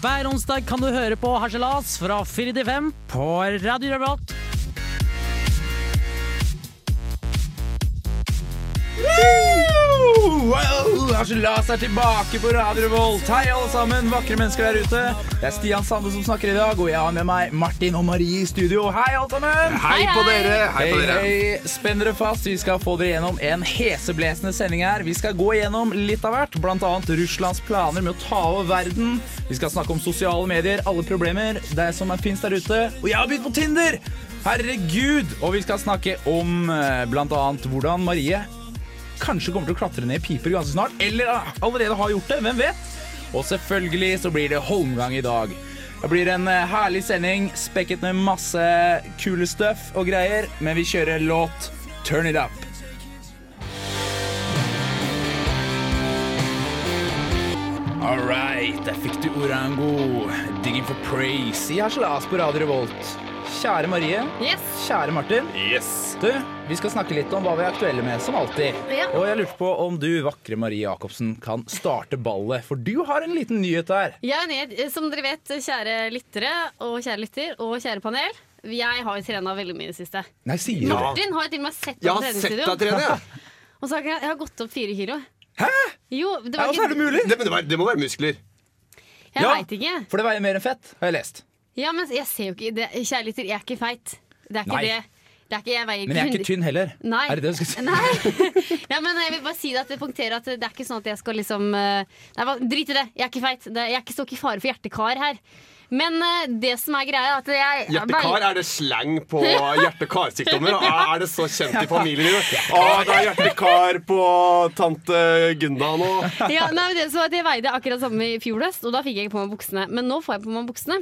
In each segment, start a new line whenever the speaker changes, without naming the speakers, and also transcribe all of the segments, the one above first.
Hver onsdag kan du høre på Harselas fra 4 til 5 på Radio Revolt.
Wow! Harselas er tilbake på Radio Revolt. Hei, alle sammen, vakre mennesker der ute. Det er Stian Sande som snakker i dag, og jeg har med meg Martin og Marie i studio. Hei, alle sammen!
Hei på dere! Hei
Hei,
på dere.
hei. Spenn dere fast. Vi skal få dere gjennom en heseblesende sending her. Vi skal gå gjennom litt av hvert, bl.a. Russlands planer med å ta over verden. Vi skal snakke om sosiale medier, alle problemer, det som er- finnes der ute. Og jeg har begynt på Tinder! Herregud! Og vi skal snakke om bl.a. hvordan Marie kanskje kommer til å klatre ned piper ganske snart. Eller ah, allerede har gjort det. Hvem vet? Og selvfølgelig så blir det holmgang i dag. Det blir en eh, herlig sending spekket med masse kule stuff og greier. Men vi kjører låt 'Turn It Up'. All right, der fikk du Orango. 'Digging for Praise' i Harselas på Radio Revolt. Kjære Marie.
Yes.
Kjære Martin.
Yes.
Du, vi skal snakke litt om hva vi er aktuelle med, som alltid.
Ja.
Og jeg lurte på om du, vakre Marie Jacobsen, kan starte ballet. For du har en liten nyhet der.
Jeg er ned, eh, som dere vet, kjære lyttere og kjære lytter og kjære panel. Jeg har jo trena veldig mye i det siste.
Nei, sier du det?
Martin har jo til og med sett
Jeg
på
har sett deg
treningsvideoen.
trene, jeg.
Og så har jeg, jeg har gått opp fire kilo. Hæ? Jo, det
Ja,
var
og så er det mulig.
Det, men det, var, det må være muskler.
Jeg
Ja.
veit ikke.
For det veier mer enn fett, har jeg lest.
Ja, men jeg ser jo ikke det, Kjære lytter, jeg er ikke feit. Det er ikke
Nei.
det. det er ikke, jeg veier
Men jeg er
100
ikke tynn heller.
Nei.
Er det det du skal si?
Nei. Nei, men jeg vil bare si det at det punkterer at det er ikke sånn at jeg skal liksom eh, Nei, hva- drit i det. Jeg er ikke feit. Det- Jeg er ikke står ikke i fare for hjertekar her. Men eh, det som er greia, er at jeg
Hjertekar, er det slang på hjerte-karsykdommer? Ah, Er er det så kjent i familien din? Ah, det er hjertekar på tante Gunda nå.
ja, nei, men det som er at Jeg veide akkurat samme i fjor høst, og da fikk jeg ikke på meg buksene. Men nå får jeg på meg buksene.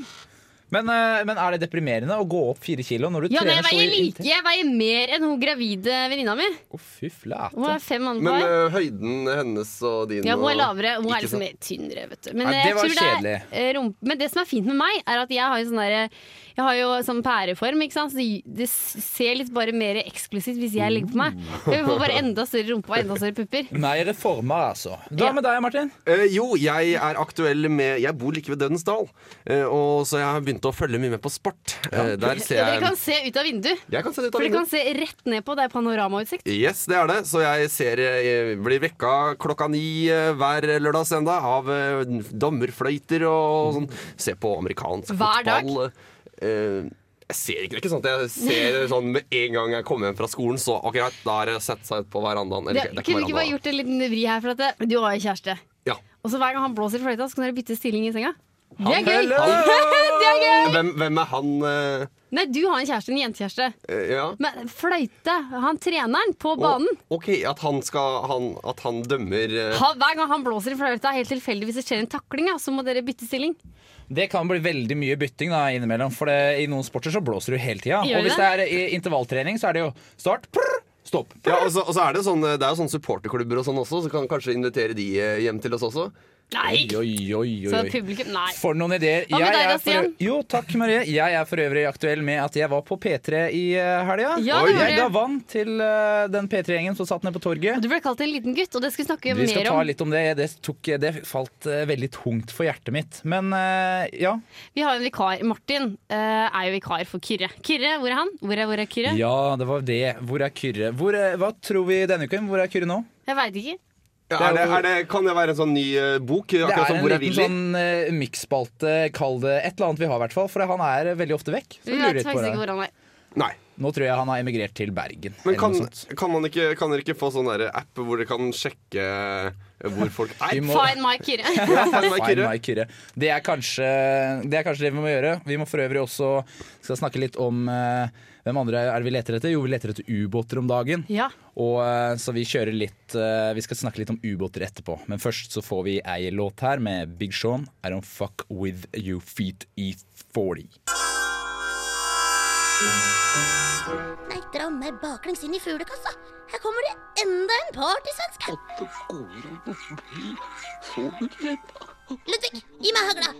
Men, eh, men er det deprimerende å gå opp fire kilo når du
Ja, nei,
trener
jeg
så
veier like
intenst?
Jeg veier mer enn hun gravide venninna mi.
Å, fy
Hun
flate.
er fem andre
Men
på vei.
eh, høyden hennes og din
Ja, hun er
og-
lavere. Hun
Ikke
er liksom
sant?
litt tynnere, vet du. Men,
Nei,
jeg
det var
tror er, eh, rump- Men det som er fint med meg, er at jeg har jo sånn derre Jeg har jo sånn pæreform, ikke sant. Så det- det ser litt bare mer eksklusivt hvis jeg legger på meg.
Mm.
Jeg får bare enda større rumpe og enda større pupper.
Nei, reformer, altså. Hva
Ja.
med deg, Martin?
Eh, jo, jeg er aktuell med Jeg bor like ved Dødens Dal, eh, og så jeg har begynt å følge mye med på sport. Eh, der ser
Dere
jeg
kan se ut av vinduet.
Jeg kan se det ut
For
av
dere
vinduet.
kan se rett ned på. Det er panoramautsikt.
Yes, det er det. Så jeg ser jeg blir vekka klokka ni eh, hver lørdag og søndag av eh, dommerfløyter og sånn. Se på amerikansk
Hver dag?
fotball. Eh, jeg ser ikke, det er ikke sånn at jeg ser sånn med en gang jeg kommer hjem fra skolen, så ok, greit, da er det å sette seg ut på verandaen. Eller,
Det,
ikke- det er
kunne du ikke
veranda,
bare gjort en liten vri her? For at det, du har jo kjæreste.
da. Ja.
Og så hver gang han blåser i fløyta, så kan dere bytte stilling i senga. Det er gøy!
Han-
Det er gøy!
Hvem, hvem er han eh,
Nei, du har en kjæreste, en jentekjæreste.
eh, Ja.
Men fløyte, han treneren på banen
Og- OK, at han skal han, At han dømmer eh,
han, Hver gang han blåser i fløyta, helt tilfeldig hvis det skjer en takling, ja, så må dere bytte stilling.
Det kan bli veldig mye bytting da, innimellom, for det, i noen sporter så blåser du hele tida.
Gjør
Og hvis
det?
det er i intervalltrening, så er det jo start, prr, stopp.
ja, og, så, og så er det sånn eh, Det er jo sånne supporterklubber og sånn også, så kan kanskje invitere de eh, hjem til oss også.
Nei!
Oi, oi, oi,
Så
oi, oi.
publikum Nei.
For noen ideer.
Hva med deg da,
er for,
Stian?
jo, takk, Marie. Jeg er for øvrig aktuell med at jeg var på P3 i eh, helga.
Ja,
Oi.
det var
jeg ga
det.
vann til eh, den P3-gjengen som satt nede på torget.
Du ble kalt en liten gutt, og det skal vi snakke
Vi skal
mer
ta
om.
litt om det. Det, tok, det falt eh, veldig tungt for hjertet mitt. Men eh, ja.
Vi har en vikar. Martin eh, er jo vikar for Kyrre. Kyrre, hvor er han? Hvor er, hvor er Kyrre?
Ja, det var det. Hvor er Kyrre? Hvor, eh, hva tror vi denne uken? Hvor er Kyrre nå?
Jeg veit ikke.
Ja,
Det er
er det,
jo-
er det, kan det være en sånn ny eh, bok?
Det er
Akkurat som
en
Hvor er
liten
Willy?
sånn uh, miksspalte, kall det et eller annet vi har, i hvert fall. For han er eh, veldig ofte vekk. Så
Vi
vi lurer
vet
litt på
faktisk ikke
det.
hvor han er.
Nei.
Nå tror jeg han har emigrert til Bergen.
Men
eller
kan,
noe sånt.
kan, man ikke, kan dere ikke få sånn der app hvor dere kan sjekke eh, hvor folk er?
Vi må-
Find my Kyrre.
Ja, find my
Find
Kyrre.
my Kyrre. Det er, kanskje, det er kanskje det vi må gjøre. Vi må for øvrig også skal snakke litt om eh, hvem andre er det vi leter etter. Jo, vi leter etter ubåter om dagen.
Ja.
Og, eh, så vi kjører litt eh, Vi skal snakke litt om ubåter etterpå. Men først så får vi ei låt her med Big Sean. I don't fuck with you feet E40.
Nei, dra meg baklengs inn i fuglekassa. Her kommer det enda en partysvensk. Ludvig, gi meg hagla.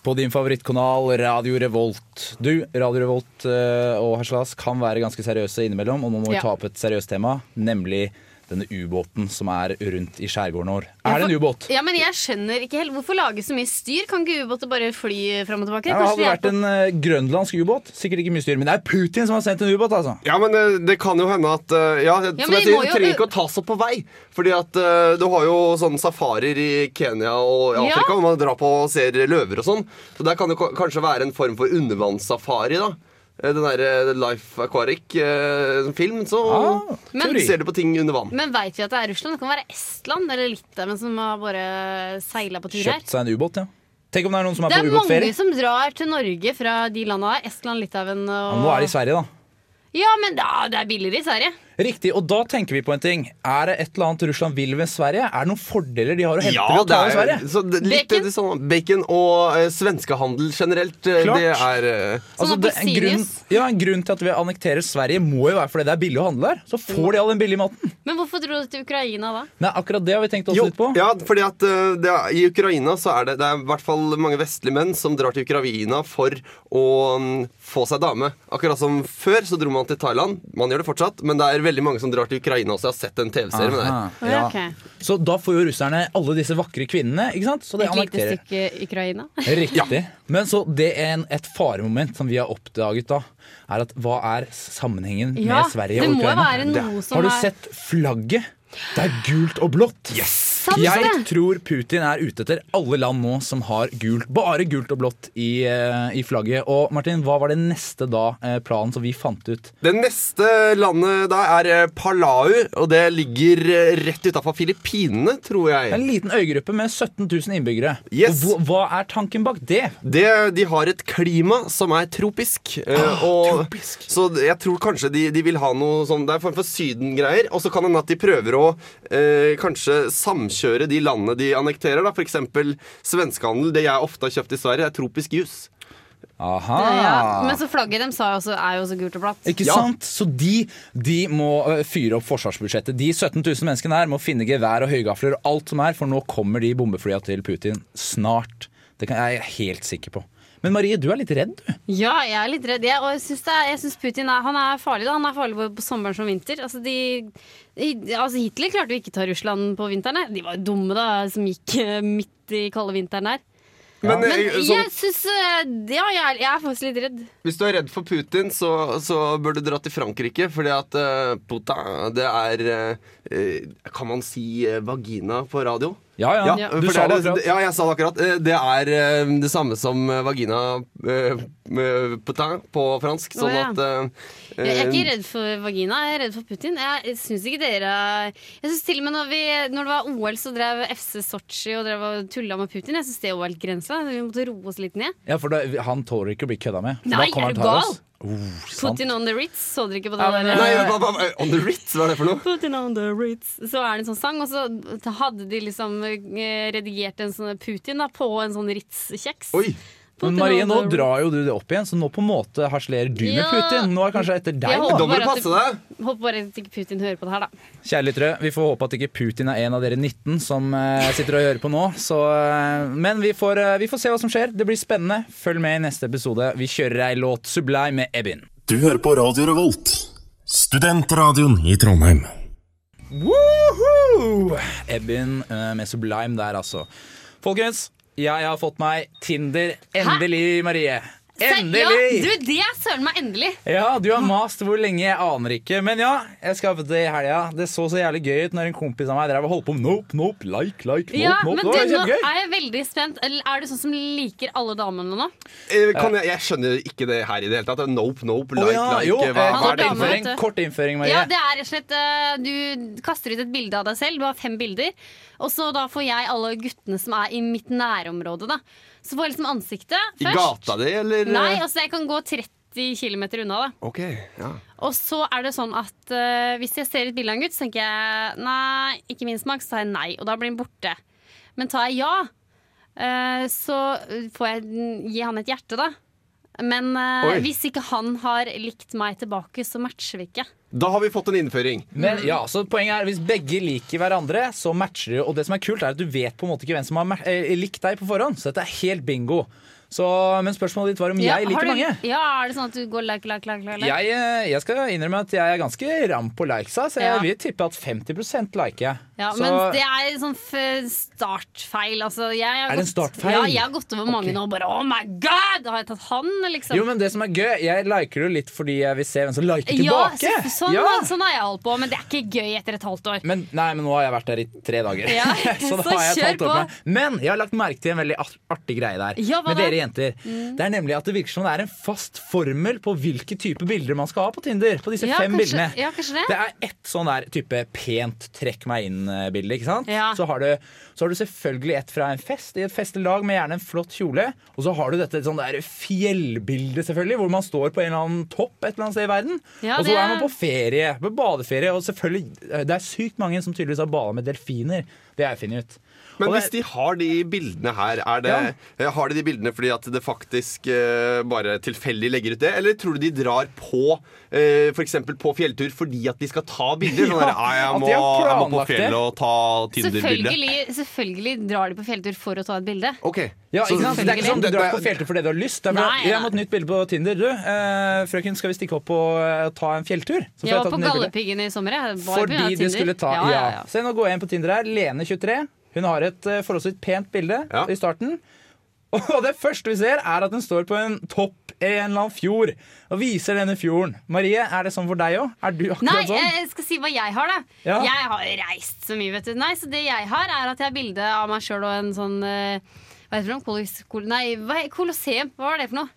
på din favorittkanal Radio Revolt. Du, Radio Revolt eh, og Haslas kan være ganske seriøse innimellom, og nå må vi
Ja.
ta opp et seriøst tema, nemlig denne ubåten som er rundt i skjærgården vår.
Ja,
Er det en
for-
ubåt?
Ja, men jeg skjønner ikke helt Hvorfor lages så mye styr? Kan ikke ubåter bare fly fram og tilbake?
Ja, det
Kanskje
hadde
de er
vært
på-
en eh, grønlandsk ubåt. Sikkert ikke mye styr, men det er Putin som har sendt en ubåt, altså.
Ja, men eh, det kan jo hende at eh, Ja, som
men
jeg
vi
sier,
må
det
jo-
trenger ikke å tas opp på vei. Fordi at eh, du har jo sånne safarier i Kenya og i
Ja.
Afrika hvor man drar på og ser løver og sånn. Så der kan det ka- kanskje være en form for undervannssafari, da. Eh, Den derre Life Aquaric-film, så
Ah,
Men-
teori.
ser du på ting under vann.
Men veit vi at det er Russland? Det kan være Estland eller Litauen som har bare seila på tur her.
Kjøpt seg en ubåt, ja. Tenk om det er noen som er
Det
på
er mange
ubåtferie.
som drar til Norge fra de landa her. Estland, Litauen
Ja,
og
men nå er det i Sverige, da.
Ja, men da, det er billigere i Sverige.
Riktig, og da tenker vi på en ting. Er det et eller annet Russland vil ved Sverige? Er det noen fordeler de har å hente ved å ta med Sverige?
så det, litt,
Bacon?
det sånn, bacon og eh, svenskehandel generelt. eh,
Klart.
Det er eh,
Altså,
Sånn
det, en, grunn,
appelsinjuice.
ja, en grunn til at vi annekterer Sverige må jo være fordi det er billig å handle der. Så får de all den billige maten.
Men hvorfor dro du til Ukraina da?
Nei, akkurat det har vi tenkt oss
Jo,
litt på.
Ja, fordi at eh, det er, I Ukraina så er det, det er i hvert fall mange vestlige menn som drar til Ukraina for å mm, få seg dame. Akkurat som før så dro man til Thailand. Man gjør det fortsatt, men det er veldig mange som drar til Ukraina også. Jeg har sett en TV-serie med det. her.
Aha, ja.
Ok.
Så da får jo russerne alle disse vakre kvinnene, ikke sant? Så de
Et lite
annekterer.
stykke Ukraina.
Riktig. Men så det er en, et faremoment som vi har oppdaget da, er at hva er sammenhengen
Ja,
med Sverige
det
og
må jo
Ukraina?
være noe som
har du
er-
sett flagget? Det er gult og blått.
Sant
Jeg
det?
tror Putin er ute etter alle land nå som har gult, bare gult og blått i, eh, i flagget. Og Martin, hva var det neste da, eh, planen som vi fant ut?
Det neste landet da er eh, Palau, og det ligger eh, rett utafor Filippinene, tror jeg.
En liten øygruppe med 17 000 innbyggere.
Yes.
Og Hva, hva er tanken bak det?
det, de har et klima som er tropisk. eh, og, Så jeg tror kanskje de, de vil ha noe sånn Det er en form for Syden-greier. Og så kan det hende at de prøver å eh, kanskje samkjøre de landene de annekterer. da F.eks. svenskehandel. Det jeg ofte har kjøpt i Sverige, er tropisk jus.
Aha.
Ja, men så flagget dem sa jo også, er jo også gult og blått.
Ah. Ikke
Ja.
sant? Så de, de må ø, fyre opp forsvarsbudsjettet. De 17 000 menneskene her må finne gevær og høygafler og alt som er, for nå kommer de bombeflya til Putin snart. Det kan, jeg er helt sikker på. Men Marie, du er litt redd, du.
Ja, jeg er litt redd. Jeg, og jeg syns, det er, jeg syns Putin er, han er farlig. Da. Han er farlig både på sommeren som vinter. Altså, de, i- altså Hitler klarte jo ikke å ta Russland på vinteren. her. De var jo dumme da, som gikk eh, midt i kalde vinteren her.
Men,
Men
eh, sånn,
jeg syns eh, Ja, jeg er, jeg er faktisk litt redd.
hvis du er redd for Putin, så, så bør du dra til Frankrike. Fordi at eh, Putin, det er eh, eh, Kan man si eh, vagina på radio?
Ja, ja.
Ja,
Ja.
for
Du
det
sa
er
det
det,
akkurat.
ja, jeg sa det akkurat. Eh, Det er eh, det samme som eh, vagina eh, eh, putain på fransk. Sånn
Å, ja.
at eh,
Jeg er ikke
eh,
redd for vagina, jeg er redd for Putin. Jeg syns ikke dere Jeg synes til og med når, vi, når det var OL, så drev FC Sotsji og drev og tulla med Putin. Jeg syns det var helt grensa. Vi måtte roe oss litt ned.
Ja, for da, han tåler ikke å bli kødda med. Så
Nei,
da kommer
er
han og
du
tar oss.
gal?
Oh, sant.
Putin on the Ritz, så dere ikke på det?
Ja, men-
der?
eh, Nei, hva, hva, hva- on the ritz, hva er det for noe?
Putin on the Ritz. Så er det en sånn sang, og så hadde de liksom eh, redigert en sånn Putin da, på en sånn Ritz-kjeks.
Oi!
Putin
Men Marie,
on
nå
the Ritz.
drar jo du det opp igjen, så nå på en måte harselerer du med
Ja.
Putin. Nå er det kanskje etter deg, da.
håper
Da må
bare
du
at
passe deg.
Håper bare at ikke Putin hører på det her, da.
Kjære lyttere, vi får håpe at ikke Putin er en av dere 19 som eh, sitter og hører på nå. Så, eh, men vi får, eh, vi får se hva som skjer. Det blir spennende. Følg med i neste episode. Vi kjører ei låt 'Sublime' med Ebin.
Du hører på Radio Revolt, studentradioen i Trondheim.
Woohoo! Ebin eh, med 'Sublime' der, altså. Folkens, jeg har fått meg Tinder. Endelig, Marie. Endelig!
Ja, du, det er søren meg endelig!
Ja, du har mast hvor lenge, jeg aner ikke. Men ja, jeg skaffet det i helga. Det så så jævlig gøy ut når en kompis av meg drev og holdt på med nope, nope, like, like, nope,
Ja,
nope.
men
Det var
du, nå
kjempegøy.
er jeg veldig spent. Eller Er du sånn som liker alle damene nå?
Eh, Kan jeg, jeg skjønner ikke det her i det hele tatt. Nope, nope,
Å
like,
ja,
like.
jo,
hva,
eh,
hva er det?
kort
dame,
innføring,
vet du.
kort innføring, Marie.
Ja, det er rett og slett eh, Du kaster ut et bilde av deg selv. Du har fem bilder. Og så da får jeg alle guttene som er i mitt nærområde, da. Så får jeg liksom ansiktet
I
først.
gata di, eller? eh?
Nei, altså jeg kan gå 30 km unna, da.
OK. Ja.
Og så er det sånn at eh, hvis jeg ser et bilde av en gutt, så tenker jeg nei, ikke min smak, så tar jeg nei, og da blir den borte. Men tar jeg ja, eh, så får jeg den- gi han et hjerte, da. Men eh,
Oi.
hvis ikke han har likt meg tilbake, så matcher vi ikke.
Da har vi fått en innføring.
Men ja, så poenget er Hvis begge liker hverandre, så matcher de. jo. Og det som er kult, er at du vet på en måte ikke hvem som har ma- eh, likt deg på forhånd. Så dette er helt bingo. Så, men spørsmålet ditt var om jeg
har
liker
du,
mange.
Ja, er det sånn at du går like, like, like, like?
Jeg, eh, jeg skal innrømme at jeg er ganske ram på likesa, så jeg
Ja.
vil tippe at 50 liker jeg.
Ja,
så,
men det er en sånn f- startfeil. Altså, jeg har
Er det en
gått-
startfeil?
Ja, jeg har gått over mange nå og bare Oh my god! Har jeg tatt han, liksom?
jo, men det som er gøy, jeg liker det jo litt fordi jeg vil se hvem som liker
ja,
tilbake.
så, sånn,
Ja.
sånn har jeg holdt på, men det er ikke gøy etter et halvt år.
Men, nei, men nå har jeg vært der i tre dager.
Ja,
så da
så
har jeg
kjør
talt opp meg. Men jeg har lagt merke til en veldig art- artig greie der.
Ja, hva
med
da?
dere
Mm.
jenter. Det er nemlig at det virker som det er en fast formel på hvilke type bilder man skal ha på Tinder. På disse
Ja,
fem
kanskje-
bildene.
ja, kanskje det.
det er ett sånn der type pent 'trekk meg inn'-bilde. ikke sant?
Ja.
Så, har du, så har du selvfølgelig et fra en fest i et festelag med gjerne en flott kjole. Og så har du dette sånn der fjellbildet, selvfølgelig, hvor man står på en eller annen topp et eller annet sted i verden.
Ja,
og så
det
er
er-
man på ferie, på badeferie, og selvfølgelig eh, Det er sykt mange som tydeligvis har bada med delfiner. Det har jeg funnet ut.
Men
Og det-
hvis de har de bildene her, er det, eh, har de de bildene fordi at det faktisk eh, bare tilfeldig legger ut det? Eller tror du de drar på eh, for eksempel på fjelltur fordi at de skal ta bilder? Sånn der, «Ah,
at
jeg,
de
må,
har
jeg må på
planlagt det».
fjellet og ta Tinder-bilde.
Selvfølgelig, selvfølgelig drar de på fjelltur for å ta et bilde.
Ok.
Ja,
Så-
ikke sant? Det er ikke sånn Du drar ikke på fjelltur fordi du har lyst. Det er bare,
Nei,
jeg
nei.
må ha et nytt bilde på Tinder. Du, eh, frøken, skal vi stikke opp og eh, ta en fjelltur? Så får
Jeg
tatt
var
et
på
nytt bilde.
Galdhøpiggen i sommer. jeg. Var på grunn av
Fordi de
Tinder.
skulle ta
ja, ja,
ja. Se, nå går jeg inn på Tinder her. Lene 23. Hun har et eh, forholdsvis pent bilde
Ja.
i starten. Og det første vi ser, er at hun står på en topp i en eller annen fjord og viser denne fjorden. Marie, er det sånn for deg òg? Er du
Nei, eh,
akkurat sånn?
jeg skal si hva jeg har, da.
Ja.
Jeg har jo reist så mye, vet du. Nei, så det jeg har, er at jeg har bilde av meg sjøl og en sånn eh, hva heter det? for noe? Kolos, kol, nei, hva, Colosseum. Hva var det for noe?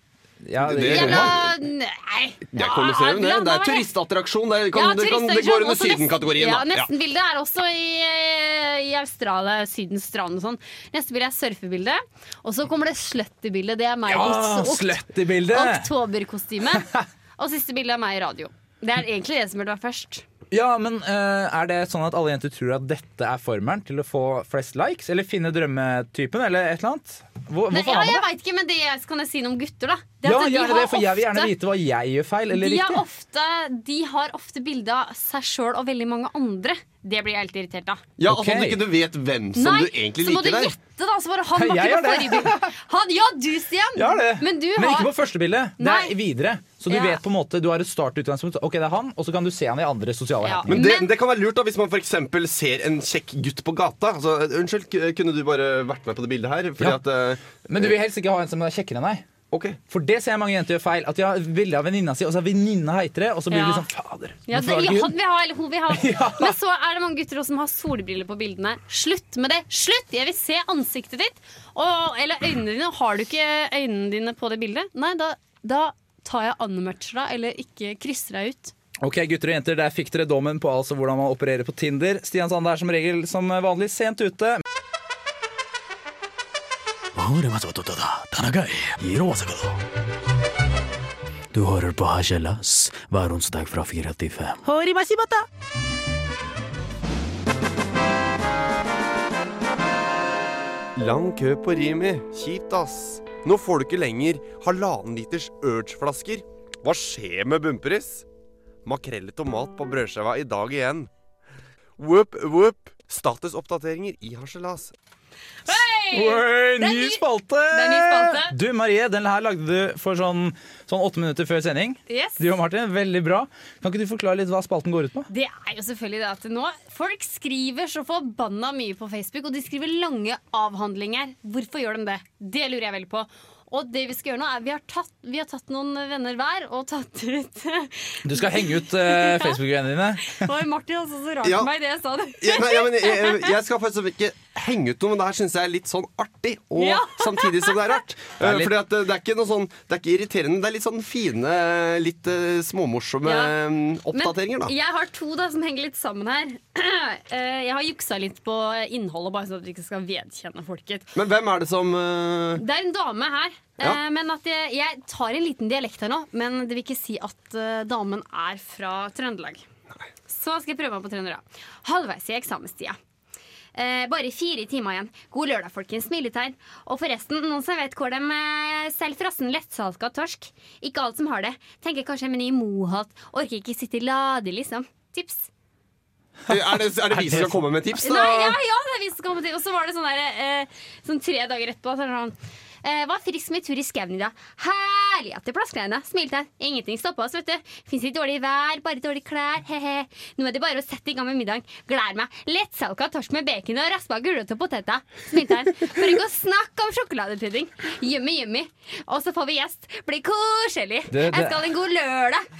Ja, det,
det-
Jævla Nei.
Det er Colosseum, det. Det er turistattraksjon. Det, kan, det, kan, det går under Syden-kategorien.
Ja,
da. Ja.
Nestenbildet er også i, eh, i Australia, Sydens strand og sånn. Neste bilde er surfebilde. Og så kommer det slutty-bildet. Det er meg
ja,
i okt-
sløtt Ah, i bildet!
oktoberkostyme. Og siste bilde er meg i radio. Det er egentlig det som burde være først.
Ja, men eh, Er det sånn at alle jenter tror at dette er formelen til å få flest likes? Eller finne drømmetypen, eller et eller annet? Hvor,
Nei,
hvorfor
ja,
har man
jeg
det?
veit ikke, men det jeg- kan jeg si noe om gutter, da. Det
Ja,
at de
gjerne
har
det, for Jeg vil gjerne
ofte-
vite hva jeg gjør feil eller
de har,
riktig.
ofte, de har ofte bilde av seg sjøl og veldig mange andre. Det blir jeg helt irritert av.
Ja, altså,
Ok.
Om ikke du vet hvem som
Nei,
du egentlig
så må du
liker der.
gjette, da! Så bare han var
Jeg
ikke på
gjør
forrige bilde. Han, ja, du, Stian!
Ja, det.
Men du
men
har
ikke på første bilde. Det
Nei.
er videre. Så du
Ja.
vet på en måte, du har et startutgangspunkt. Ok, det er han, og så kan du se han i andre sosiale
Ja.
happeninger.
Men det,
Men-
det kan være lurt da hvis man for eksempel ser en kjekk gutt på gata. Altså, unnskyld, k- kunne du bare vært med på det bildet her? Fordi
Ja.
at eh,
Men du vil helst ikke ha en som er kjekkere enn deg.
OK.
For det ser jeg mange jenter gjør feil. At de har bilde av venninna si, og så er venninna heitere, og så blir
Ja.
de sånn Fader.
ja, det,
hvorfor var det ikke hun?»
han vil ha, eller hun vil ha.
Ja.
Men så er det mange gutter også som har solbriller på bildene. Slutt med det! Slutt! Jeg vil se ansiktet ditt! Og, eller øynene dine. Har du ikke øynene dine på det bildet? Nei, da, da tar jeg unmatcher deg, eller ikke krysser deg ut.
Ok, gutter og jenter, der fikk dere dommen på altså hvordan man opererer på Tinder. Stian Sande er som regel som vanlig sent ute.
Du hører på Hachelas hver onsdag fra 4 til 5.
Horimasibata.
Lang kø på Rimi. Kjipt, ass. Nå får du ikke lenger halvannen liters Urge-flasker. Hva skjer med bunnpris? Makrell i tomat på brødskiva i dag igjen. Whoop, whoop. Statusoppdateringer i harselas.
Oi,
Det er
ny
ny-
spalte!
det er ny spalte.
Du Marie, den her lagde du for sånn, sånn åtte minutter før sending.
Yes.
Du og Martin, veldig bra. Kan ikke du forklare litt hva spalten går ut på?
Det er jo selvfølgelig det at nå Folk skriver så forbanna mye på Facebook, og de skriver lange avhandlinger. Hvorfor gjør de det? Det lurer jeg veldig på. Og det vi skal gjøre nå er Vi har tatt, vi har tatt noen venner hver og tatt ut
Du skal henge ut eh, Facebook-vennene dine.
Det var Martin også som rakk
Ja.
meg i det jeg sa det.
Ja, nei, ja, men jeg, jeg, jeg skal faktisk ikke henge ut noe, men det her syns jeg er litt sånn artig. Og
Ja.
samtidig som det er rart.
er
Eh,
litt-
Fordi at eh, det er ikke noe sånn Det er ikke irriterende. Det er litt sånn fine, litt eh, småmorsomme
Ja.
eh,
Men
oppdateringer, da.
jeg har to da som henger litt sammen her. Eh, Jeg har juksa litt på innholdet, bare sånn at vi ikke skal vedkjenne folket.
Men hvem er det som eh,
Det er en dame her.
Ja.
eh, Men at jeg, jeg tar en liten dialekt her nå, men det vil ikke si at eh, damen er fra Trøndelag. Så skal jeg prøve meg på trønder, da. Halvveis i eksamenstida. Eh, bare fire timer igjen. God lørdag, folkens. Smiletegn. Og forresten, noen som vet hvor de eh, selger frossen lettsalka torsk? Ikke alt som har det. Tenker kanskje Meny Moholt. Orker ikke sitte i lade, liksom. Tips.
er, det, er det vi som skal komme med tips, da?
Nei, ja, ja, det er vi som kommer til Og så var det sånn der eh, Sånn tre dager etterpå så er det sånn Eh, var frisk med tur i skauen i dag. Herlig at det plaskregna. Smilte han. Ingenting stoppa oss, vet du. Fins ikke dårlig vær, bare dårlige klær. He-he. Nå er det bare å sette i gang med middagen. Gleder meg. Lettsalka torsk med bacon og raspa gulrot og poteter. Smilte han. For ikke å snakke om sjokoladepudding. Yummy, yummy. Og så får vi gjest. Blir koselig.
Det- det-
Jeg skal ha en god lørdag.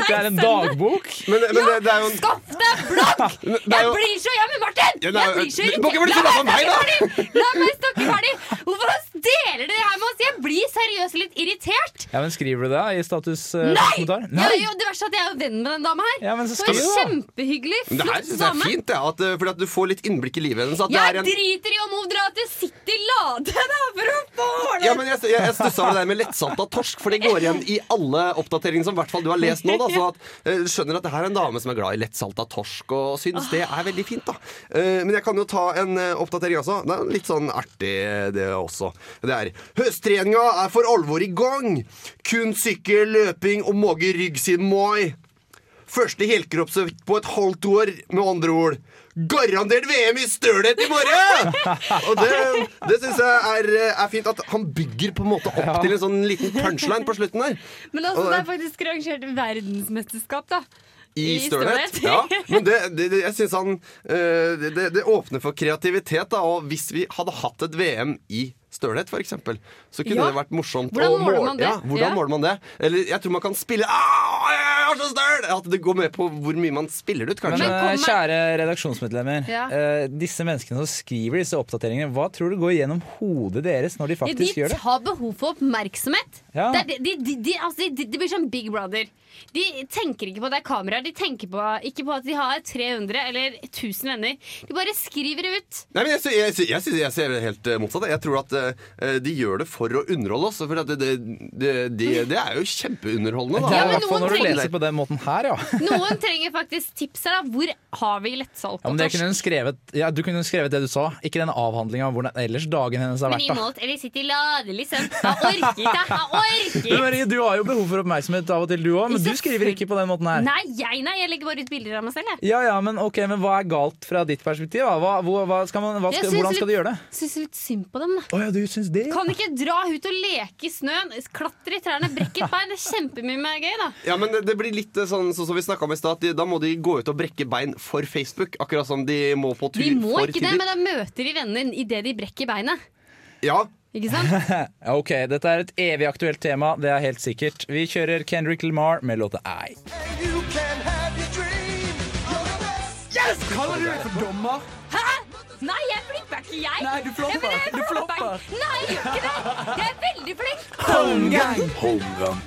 Det er en dagbok.
Men, men det, det er jo en
Skaff deg blogg!
det er
Jeg
jo-
blir så hjemme, Martin! Jeg
Ja, nei,
blir så
du
irritert.
må ikke bli
La
sinna på meg,
meg snakke ferdig!
da!
La meg snakke ferdig! Hvorfor deler dere det her med oss? Jeg blir seriøst litt irritert.
Ja, men Skriver du det i status eh,
Nei!
kommentar?
Ja, jo, det verste er at jeg er jo venn med den dama her.
Ja, men så
Hun er
skriv, da.
kjempehyggelig,
Men det her
flott
synes jeg er
dame.
fint, det, at, eh, fordi at du får litt innblikk i livet hennes. At det
Jeg
er en,
driter i om hun drar til City Lade da, for å få
ja,
ordnet
men jeg, jeg, jeg stussa over det der med lettsalta torsk, for det går igjen i alle oppdateringer som i hvert fall du har lest nå. Da, så at, eh, skjønner at det her er en dame som er glad i lettsalta torsk, og syns det er veldig fint. da Eh, Men jeg kan jo ta en eh, oppdatering også. Det er litt sånn artig, eh, det også. Det er Høsttreninga er for alvor i gang! Kun sykkel, løping og måge rygg siden mai. Første helkroppsøkt på et halvt år, med andre ord. Garantert VM i stølhet i morgen! Og det, det syns jeg er, er fint. At han bygger på en måte opp til en sånn liten punchline på slutten der.
Men altså,
Og-
det er faktisk rangert verdensmesterskap, da.
I
I
stølhet.
stølhet.
Ja, men det, det, det, jeg syns han eh, det, det- det åpner for kreativitet, da. Og hvis vi hadde hatt et VM i stølhet, f.eks., så kunne
Ja.
det vært morsomt
Hvordan
å
måler
måle-
man det?
Ja, hvordan
Ja.
måler man det? Eller jeg tror man kan spille Au, jeg er så støl! At det går med på hvor mye man spiller det ut,
Men
kanskje.
eh, kjære redaksjonsmedlemmer,
Ja.
eh, disse menneskene som skriver disse oppdateringene, hva tror du går gjennom hodet deres når de
De
faktisk gjør det?
har behov for oppmerksomhet.
Ja.
Det, er- de, de, de, altså, de, de blir som Big Brother. De tenker ikke på at det er kameraer, de tenker på, ikke på at de har 300 eller 1000 venner. De bare skriver det ut.
Nei, men jeg, sy- jeg, sy- jeg, sy- jeg ser det helt eh, motsatt. Jeg tror at eh, de gjør det for å underholde oss. For at det, det, det, det- det er jo kjempeunderholdende.
Det
Da.
Ja,
er i
men
hvert fall
noen
når du
tenker-
leser på den måten her, ja.
Noen trenger faktisk tips her. da Hvor har vi lettsalt
Ja,
og
men det kunne
torsk?
hun skrevet, ja, du kunne hun skrevet det du sa, ikke den avhandlinga om hvordan ellers dagen hennes har
Men
vært. da.
innholdt eller sitte i lade, liksom. Jeg orker ikke! Jeg
Men
orker!
Marie, du har jo behov for oppmerksomhet av og til, du òg, men du skriver ikke på den måten her.
Nei, jeg, nei, jeg legger bare ut bilder av meg selv. Jeg.
Ja, ja, men ok, men hva er galt fra ditt perspektiv? Da? Hva, hvor- hva skal man, hva
Jeg
skal,
synes
hvordan skal du
litt-
gjøre det?
Syns litt synd på dem, da.
Å ja, du syns det?
Kan ikke dra ut og leke i snøen, klatre i trærne, brekke et bein. Det er kjempemye mer gøy, da.
Ja, men det- det blir litt eh, sånn sånn som vi snakka om i stad. at de- Da må de gå ut og brekke bein for Facebook. Akkurat som de må på tur
De må
for
ikke det, men da møter de venner idet de brekker beinet.
Ja,
Ikke sant?
Ja, Ok, dette er et evig aktuelt tema, det er helt sikkert. Vi kjører Kendrick Lamar med låta I.
Hæ? Nei, jeg flipper ikke, jeg.
Nei, du flopper.
Ja, men jeg
Du flopper.
ikke. Nei, jeg gjør ikke det. Jeg er veldig flink.
Holmgang.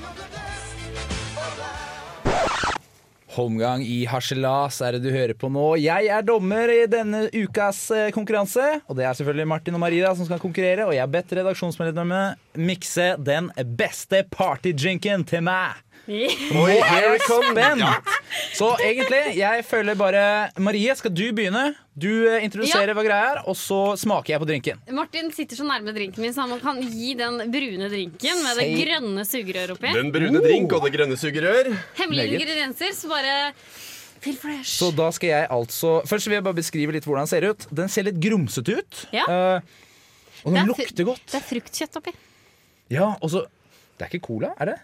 Holmgang i harselas er det du hører på nå. Jeg er dommer i denne ukas eh, konkurranse. Og det er selvfølgelig Martin og Maria som skal konkurrere. Og jeg har bedt redaksjonsmedlemmene mikse den beste partydrinken til meg. Nå er jeg spent! Så egentlig, jeg føler bare Marie, skal du begynne? Du eh, introduserer
Ja.
hva greia er, og så smaker jeg på drinken.
Martin sitter så nærme drinken min, så han kan gi den brune drinken med det
Si-
grønne sugerøret oppi.
Den brune drink og det grønne sugerør.
Hemmelige
Meget.
ingredienser, så bare Feel fresh.
Så da skal jeg altså Først vil jeg bare beskrive litt hvordan den ser ut. Den ser litt grumsete ut.
Ja.
eh, og den
Det er fu-
lukter godt.
Det er fruktkjøtt oppi.
Ja, og så Det er ikke cola, er det?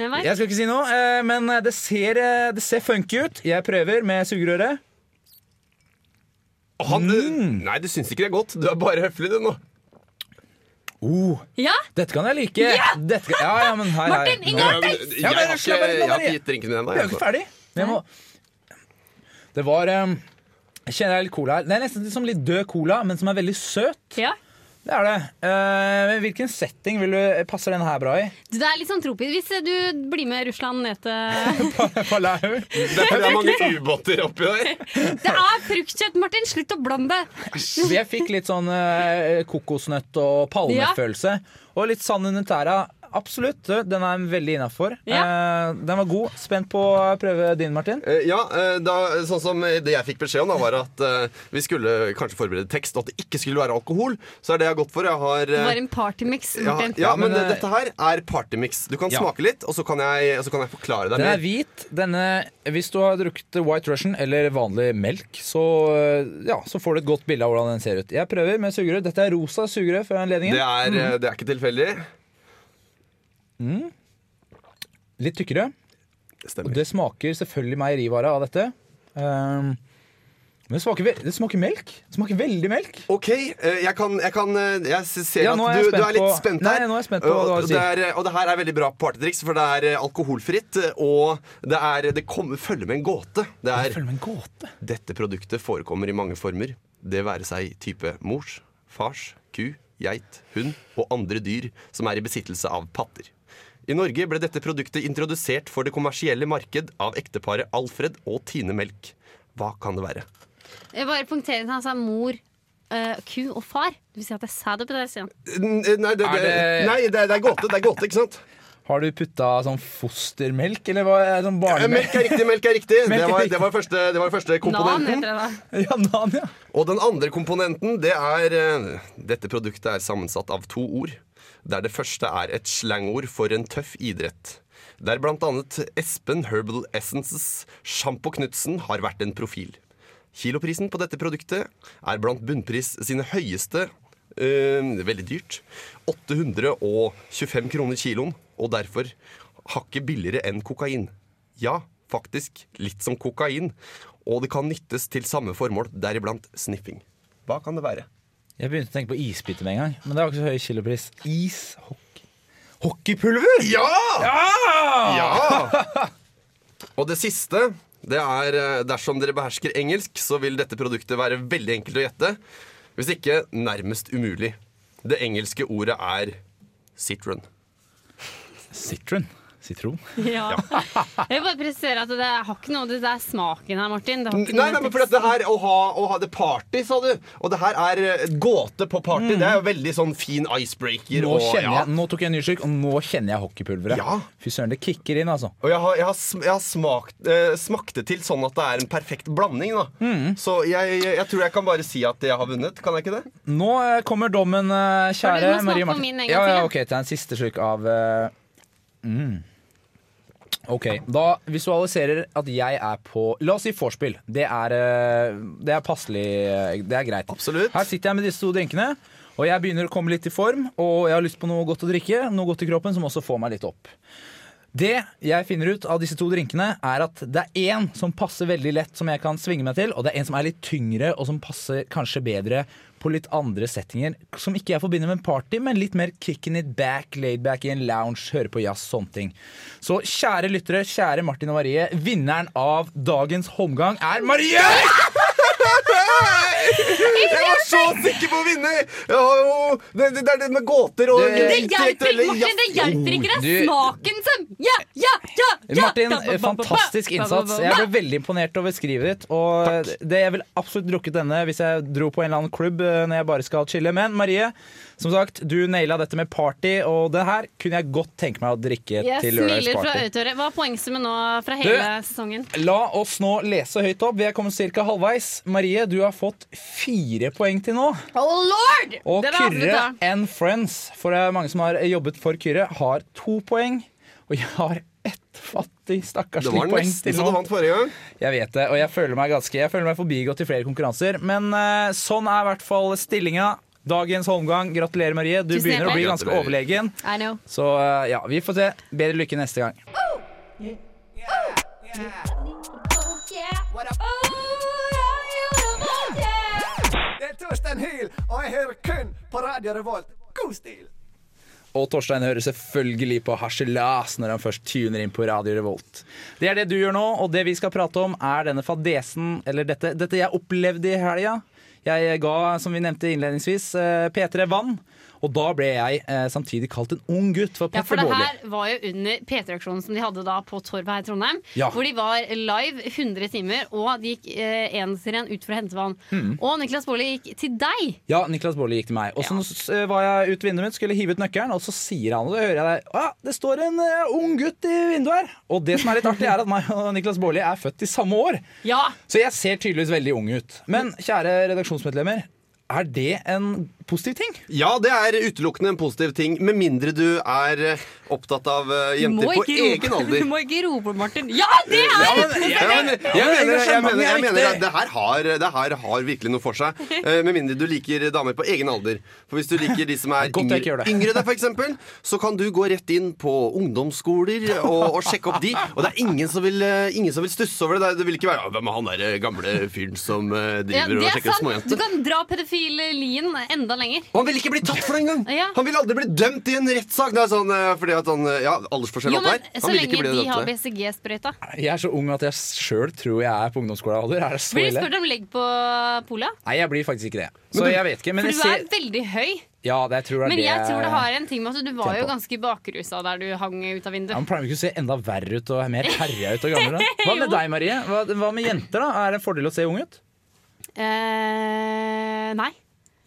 Jeg vet.
Jeg skal ikke si noe, eh, men det ser, eh, det ser funky ut. Jeg prøver med sugerøret.
Og han, Nei, du syns ikke det er godt. Du er bare høflig, du nå.
Oh,
Ja,
dette kan jeg like. Dette kan, ja, ja, men hei, hei.
Martin,
Nå-
Ingar-
Ja, men,
Ja,
jeg,
men
har ikke,
slapp av litt nå,
jeg har
Marie.
ikke gitt drinken min
Vi
ennå.
er jo
jeg,
ikke
altså.
ferdig. Jeg må, det var eh, Jeg kjenner jeg litt cola her. Det er nesten som litt død cola, men som er veldig søt.
ja.
Det er det. Eh, men hvilken setting vil du, passer den her bra i?
Du, Det er litt sånn tropisk. Hvis du blir med Russland ned til
Palau?
Derfor er det mange ubåter oppi der.
Det er fruktkjøtt, Martin! Slutt å blande det!
Jeg fikk litt sånn eh, kokosnøtt og palmefølelse. Og litt sand under tæra. absolutt. Den er veldig innafor. Eh,
Ja.
Den var god. Spent på å prøve din, Martin.
Eh, Ja, eh, da, sånn som Det jeg fikk beskjed om, da var at eh, vi skulle kanskje forberede tekst, og at det ikke skulle være alkohol. Så er det jeg har gått for. Jeg har
Det
eh,
var en partymix.
ja,
Martin.
ja,
men,
men
eh,
dette her er partymix. Du kan
Ja.
smake litt, og så kan jeg, og så kan jeg forklare deg
Den er
mer.
hvit. Denne, hvis du har drukket White Russian eller vanlig melk, så, eh, ja, så får du et godt bilde av hvordan den ser ut. Jeg prøver med sugerør. Dette er rosa sugerør for anledningen.
Det er, eh,
Mm.
det er ikke tilfeldig.
Litt tykkere.
Det
Og
stemmer.
det smaker selvfølgelig meierivare av dette. Ehm, men det smaker, ve- det smaker melk. Det smaker veldig melk.
OK, eh, jeg kan Jeg, kan, eh, jeg ser
Ja,
at
nå er jeg
du, du
spent
er litt
på-
spent
Nei,
her.
nå er jeg spent på hva du har å
og,
si.
det er, og det her er veldig bra partytriks, for det er eh, alkoholfritt, og det, er, det kommer, følger med en gåte. Det
Jeg
er
føler meg en gåte.
Dette produktet forekommer i mange former. Det være seg type mors, fars, ku, geit, hund og andre dyr som er i besittelse av patter. I Norge ble dette produktet introdusert for det kommersielle marked av ekteparet Alfred og Tine Melk. Hva kan det være?
Jeg bare punkterer til han sa mor, eh, ku og far. Du vil si at jeg sa det på det siden.
eh, Nei, det, det,
Er det-
nei, det, det er gåte, det er gåte, ikke sant?
Har du putta sånn fostermelk, eller hva er det, sånn barnemelk?
Eh, Melk er riktig, melk er riktig.
Melk
Det
er
var,
riktig.
det var, første, det var første
Nan
komponenten.
heter det da.
Ja, nan, ja.
Og den andre komponenten, det er eh, Dette produktet er sammensatt av to ord. Der det første er et slangord for en tøff idrett. Der blant annet Espen Herbal Essences Sjampo Knutsen har vært en profil. Kiloprisen på dette produktet er blant bunnpris sine høyeste eh, Veldig dyrt. 825 kroner kiloen, og derfor hakket billigere enn kokain. Ja, faktisk litt som kokain, og det kan nyttes til samme formål, deriblant sniffing. Hva kan det være?
Jeg begynte å tenke på isbiter med en gang, men det var ikke så høy kilopris. Is, hockey Hockeypulver!
Ja! Ja! Og det siste, det er eh, dersom dere behersker engelsk, så vil dette produktet være veldig enkelt å gjette. Hvis ikke nærmest umulig. Det engelske ordet er citron.
Citron. Sitron.
Ja. Jeg vil bare presisere at det er- har ikke noe Det er smaken her, Martin. Det har
Nei,
ikke
nei,
noe
men for dette her, å ha, å ha det party, sa du. Og det her er eh, et gåte på party. Det er jo veldig sånn fin icebreaker.
Mm. Nå,
og,
kjenner
ja.
jeg, nå tok jeg en ny slurk, og nå kjenner jeg hockeypulveret.
Ja.
Fy søren, det kicker inn, altså.
Og jeg har, jeg har, sm- jeg har smakt, eh, smakt det til sånn at det er en perfekt blanding. Da. Så jeg, jeg, jeg tror jeg kan bare si at jeg har vunnet. Kan jeg ikke det?
Nå eh, kommer dommen, eh,
Har du- du må
kjære
smake
Marie
på
og Martin.
min en gang
Ja,
til,
ja,
ja.
ok, ta en siste slurk av eh, mm. Ok, da visualiserer at jeg er på La oss si vorspiel. Det er, eh, det er passelig eh, Det er greit.
Absolutt.
Her sitter jeg med disse to drinkene, og jeg begynner å komme litt i form. Og jeg har lyst på noe godt å drikke, noe godt i kroppen som også får meg litt opp. Det jeg finner ut av disse to drinkene, er at det er én som passer veldig lett, som jeg kan svinge meg til, og det er en som er litt tyngre, og som passer kanskje bedre på litt andre settinger. Som ikke jeg forbinder med en party, men litt mer kicking it back, laid back i en lounge, høre på jazz, sånne ting. Så kjære lyttere, kjære Martin og Marie, vinneren av dagens omgang er Marie!
Jeg var så sikker på å vinne! Jeg har jo, det, det, det er det med gåter og
Det-
Det hjelper ikke,
intellektuelle
Martin! Det
jazz.
hjelper ikke! Det
Oh, Du-
er smaken som Ja, ja, ja! ja.
Martin,
Ba, ba, ba, ba, ba.
fantastisk innsats.
Ba, ba, ba,
Jeg
ba.
ble veldig imponert over skrivet ditt. Og det, jeg ville absolutt drukket denne hvis jeg dro på en eller annen klubb eh, når jeg bare skal chille. Men Marie, som sagt, du naila dette med party, og det her kunne jeg godt tenke meg å drikke
Jeg
til
smiler fra
lørdagsparty.
auditoriet. Hva er poengsummen nå fra hele sesongen?
La oss nå lese høyt opp. Vi er kommet ca. halvveis. Marie, du har fått fire poeng til nå.
Oh lord!
Og
Det var alt vi
Kyrre
tar.
and Friends, for det er mange som har jobbet for Kyrre, har to poeng. Og jeg har ett fattig,
Det
stakkarslig
var
poeng
nesten
til
så du
nå.
vant forrige gang.
Jeg vet det, og jeg føler meg ganske Jeg føler meg forbigått i flere konkurranser. Men eh, sånn er i hvert fall stillinga. Dagens omgang. Gratulerer, Marie. Du
Tusen
begynner å bli
hjertelig.
ganske
Gratulerer.
overlegen.
I know.
Så eh, ja, vi får se. Bedre lykke neste gang.
Det er Torstein Hyl, og jeg hører kun på Radio Revolt. God stil!
Og Torstein hører selvfølgelig på Harselas når han først tuner inn på Radio Revolt. Det er det du gjør nå, og det vi skal prate om, er denne fadesen, eller dette, dette jeg opplevde i helga. Jeg eh, ga, som vi nevnte innledningsvis, eh, P3 Vann. Og da ble jeg eh, samtidig kalt en ung gutt for
Ja, for
Petter
det
Baarli.
her var jo under P3-aksjonen som de hadde da på Torvet her i Trondheim.
Ja.
Hvor de var live 100 timer, og de gikk eh, en etter en ut for å hente vann.
Hmm.
Og Niklas Baarli gikk til deg.
Ja, Niklas Baarli gikk til meg. Og så s- eh, var jeg ut vinduet mitt, skulle hive ut nøkkelen, og så sier han og da hører jeg der, ah, det står en eh, ung gutt i vinduet her. Og det som er litt artig, er at meg og Niklas Baarli er født i samme år.
Ja!
Så jeg ser tydeligvis veldig ung ut. Men kjære redaksjonsmedlemmer, er det en positiv ting?
Ja, det er utelukkende en positiv ting, med mindre du er eh, opptatt av eh,
Du
jenter
må
på
ikke
egen
rope, du
alder.
må ikke rope, Martin. Ja, det er
Ja, men, jeg, mener, jeg, mener, jeg, mener, jeg mener at det her har, det her har virkelig noe for seg. Eh, Med mindre du liker damer på egen alder. For hvis du liker de som er
Godt jeg ikke gjør
yngre,
det.
yngre deg, f.eks., så kan du gå rett inn på ungdomsskoler og, og sjekke opp de. Og det er ingen som vil, eh, ingen som vil stusse over det. Det- Det vil ikke være «Ja, 'Hvem er han der eh, gamle fyren som eh,
Ja,
driver
det
og
er
sjekker
sant. Du
småjenter?'
kan dra pedofilien enda lenger.
Og han vil ikke bli tatt for det engang!
Ja.
Han vil aldri bli dømt i en rettssak! Det er sånn eh, fordi at han eh, Ja, aldersforskjell
Jo,
og
men
alt der.
Så
Han vil
lenge
ikke bli
de
dømt.
har
for det.
BCG-sprøyta.
Jeg er så ung at jeg sjøl tror jeg er på ungdomsskolealder. Er det så
Blir du
ille?
spurt om legg på polet?
Nei, jeg blir faktisk ikke det. Så jeg vet ikke. Men
For
jeg
du er
ser
veldig høy.
Ja, det jeg tror det er
Men
det
jeg tror det har en ting med at du var jo
Tempo.
ganske bakrusa der du hang ut av
ja,
vinduet.
men Pleier vi ikke å se enda verre ut og mer herja ut og gamle? Da? Hva med deg, Marie? Hva, hva med jenter, da? Er det en fordel å se ung ut?
Eh, nei.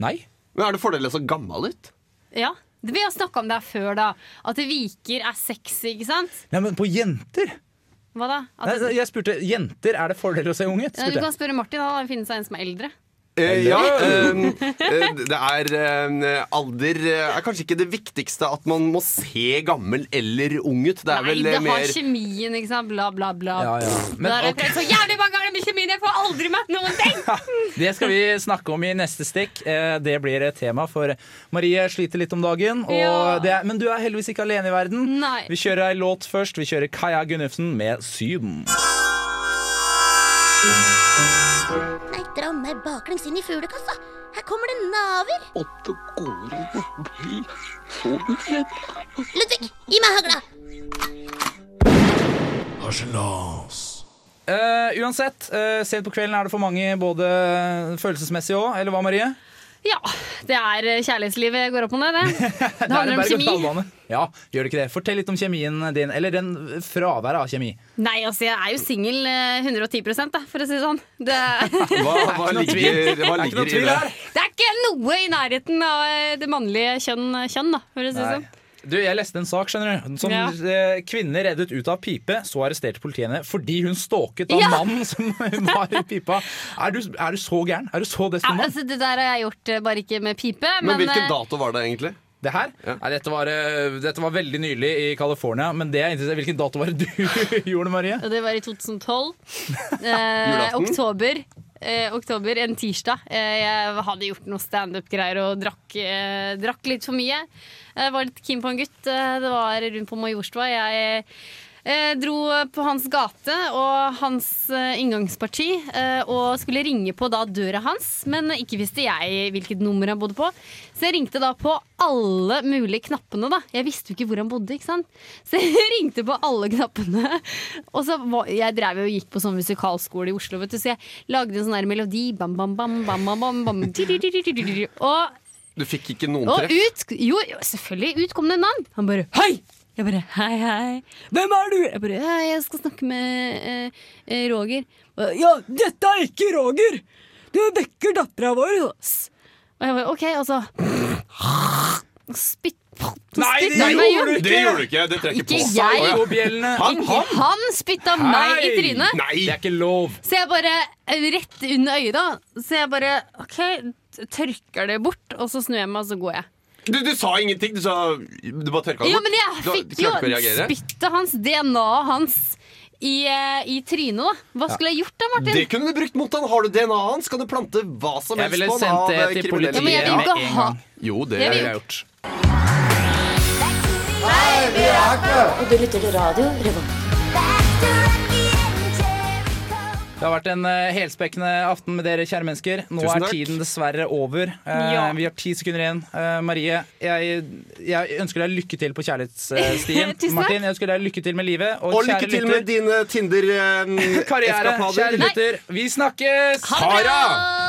Nei.
Men er det fordel å se gammel ut?
Ja. Det Vi har snakka om det her før, da. At viker er sexy, ikke sant?
Nei, men på jenter?
Hva da? At,
Nei, jeg spurte jenter. Er det fordel å se ung ut?
Ja, du
Spurte
kan
jeg.
spørre Martin, han har funnet seg en som er eldre.
Eh, ja, ehm, eh, det er eh, Alder eh, er kanskje ikke det viktigste at man må se gammel eller ung ut. Det er
Nei,
vel
det
eh,
har
mer
kjemien, ikke sant. Bla, bla, bla.
Ja, ja. Men,
Men, har jeg
ok.
prøvd så jævlig mange ganger med kjemien, jeg får aldri møtt noen ting!
Det skal vi snakke om i neste stikk. Eh, Det blir et tema, for Marie sliter litt om dagen. Og
Ja.
det er, men du er heldigvis ikke alene i verden.
Nei.
Vi kjører ei låt først. Vi kjører Kaja Gunnufsen med 'Syden'.
Nei, dra meg baklengs inn i fuglekassa. Her kommer det naver. Ludvig, gi meg hagla.
Harselas.
Eh, uansett, eh, sent på kvelden er det for mange både følelsesmessig òg, eller hva, Marie?
Ja, det er eh, kjærlighetslivet går opp og ned, det. Det handler om kjemi.
kjemi. Ja, gjør det ikke det? Fortell litt om kjemien din, eller den fraværet av kjemi.
Nei, altså jeg er jo singel eh, 110 da, for å si det sånn. Det,
Hva, hva
noe
ligger, hva
Det er ikke noe
ligger i
tvil
det?
her!
det er ikke noe i nærheten av eh, det mannlige kjønn, kjønn da, for å si det sånn.
Du, Jeg leste en sak skjønner du som
Ja.
eh, kvinne reddet ut av pipe. Så arresterte politiet henne fordi hun stalket av
Ja.
mannen som var i pipa. Er du, er du så gæren? Er du så
Ja,
desperat?
altså, det der har jeg gjort, eh, bare ikke med pipe. Men,
Men hvilken
eh,
dato var det egentlig?
altså-
Det her? Nei, dette, var, eh, dette var veldig nylig i California. Men det er interessant. Hvilken dato var det du gjorde, Marie?
Og det var i 2012. Eh, oktober. Eh, oktober, En tirsdag. Eh, jeg hadde gjort noe standup-greier og drakk, eh, drakk litt for mye. Jeg var litt keen på en gutt. Eh, det var rundt på Majorstua. Jeg eh, dro på hans gate og hans eh, inngangsparti eh, og skulle ringe på da døra hans, men ikke visste jeg hvilket nummer han bodde på. Så jeg ringte da på alle mulige knappene, da. Jeg visste jo ikke hvor han bodde, ikke sant. Så jeg ringte på alle knappene. Og så var, jeg drev jo og gikk på sånn musikalskole i Oslo, vet du, så jeg lagde en sånn her melodi. Bam, bam, bam, bam, bam, bam, bam. di-di-di-di-di-di. Og
Du fikk ikke noen
og
treff?
ut, jo, jo, selvfølgelig, ut kom det en mann. Han bare hei! Jeg bare hei, hei. Hvem er du? Jeg bare «Hei, jeg skal snakke med eh, eh, Roger. Og, Ja, dette er ikke Roger! Du vekker dattera vår! ass.» Og jeg bare OK, og så Spytt
Nei, det
spytt han meg
gjorde
ut.
du ikke!
du ikke! Det trekker
Ikke jeg.
Å, ja.
Bjellene.
Han, han?
Han spytta meg i
Hei!
trynet.
Nei!
Det er ikke lov!
Så jeg bare eh, Rett under øyet, da. Så jeg bare OK, tørker det bort, og så snur jeg meg, og så går jeg.
Du, du sa ingenting. Du sa Du bare tørka det
Jo,
bort.
men jeg
Du har-
fikk
klarte
jo
ikke å reagere.
spyttet hans, DNA-et hans, i, eh, i trynet, da. Hva skulle jeg gjort da, Martin?
Det kunne du brukt mot han. Har du DNA-et hans, kan du plante hva som
Jeg
helst
ville
på han
sendt
av
det
eh,
til politiet
kriminelle
Ja, men jeg vil
med
ikke
en
ha-
gang.
Jo, det
Jeg
er
Det
vil-
har jeg gjort. Det har vært en eh, helspekkende aften med dere, kjære mennesker. Nå
Tusen
er
takk.
tiden dessverre over. Eh,
Ja.
Vi har ti sekunder igjen. Eh, Marie, jeg, jeg ønsker deg lykke til på kjærlighetsstien.
Tusen takk.
Martin, jeg ønsker deg lykke til med livet. Og,
Og
kjære
lykke til
lytter,
med dine eh,
karriere.
Tinder-eskapader.
Kjære lytter, vi snakkes!
Ha det bra!
Tara!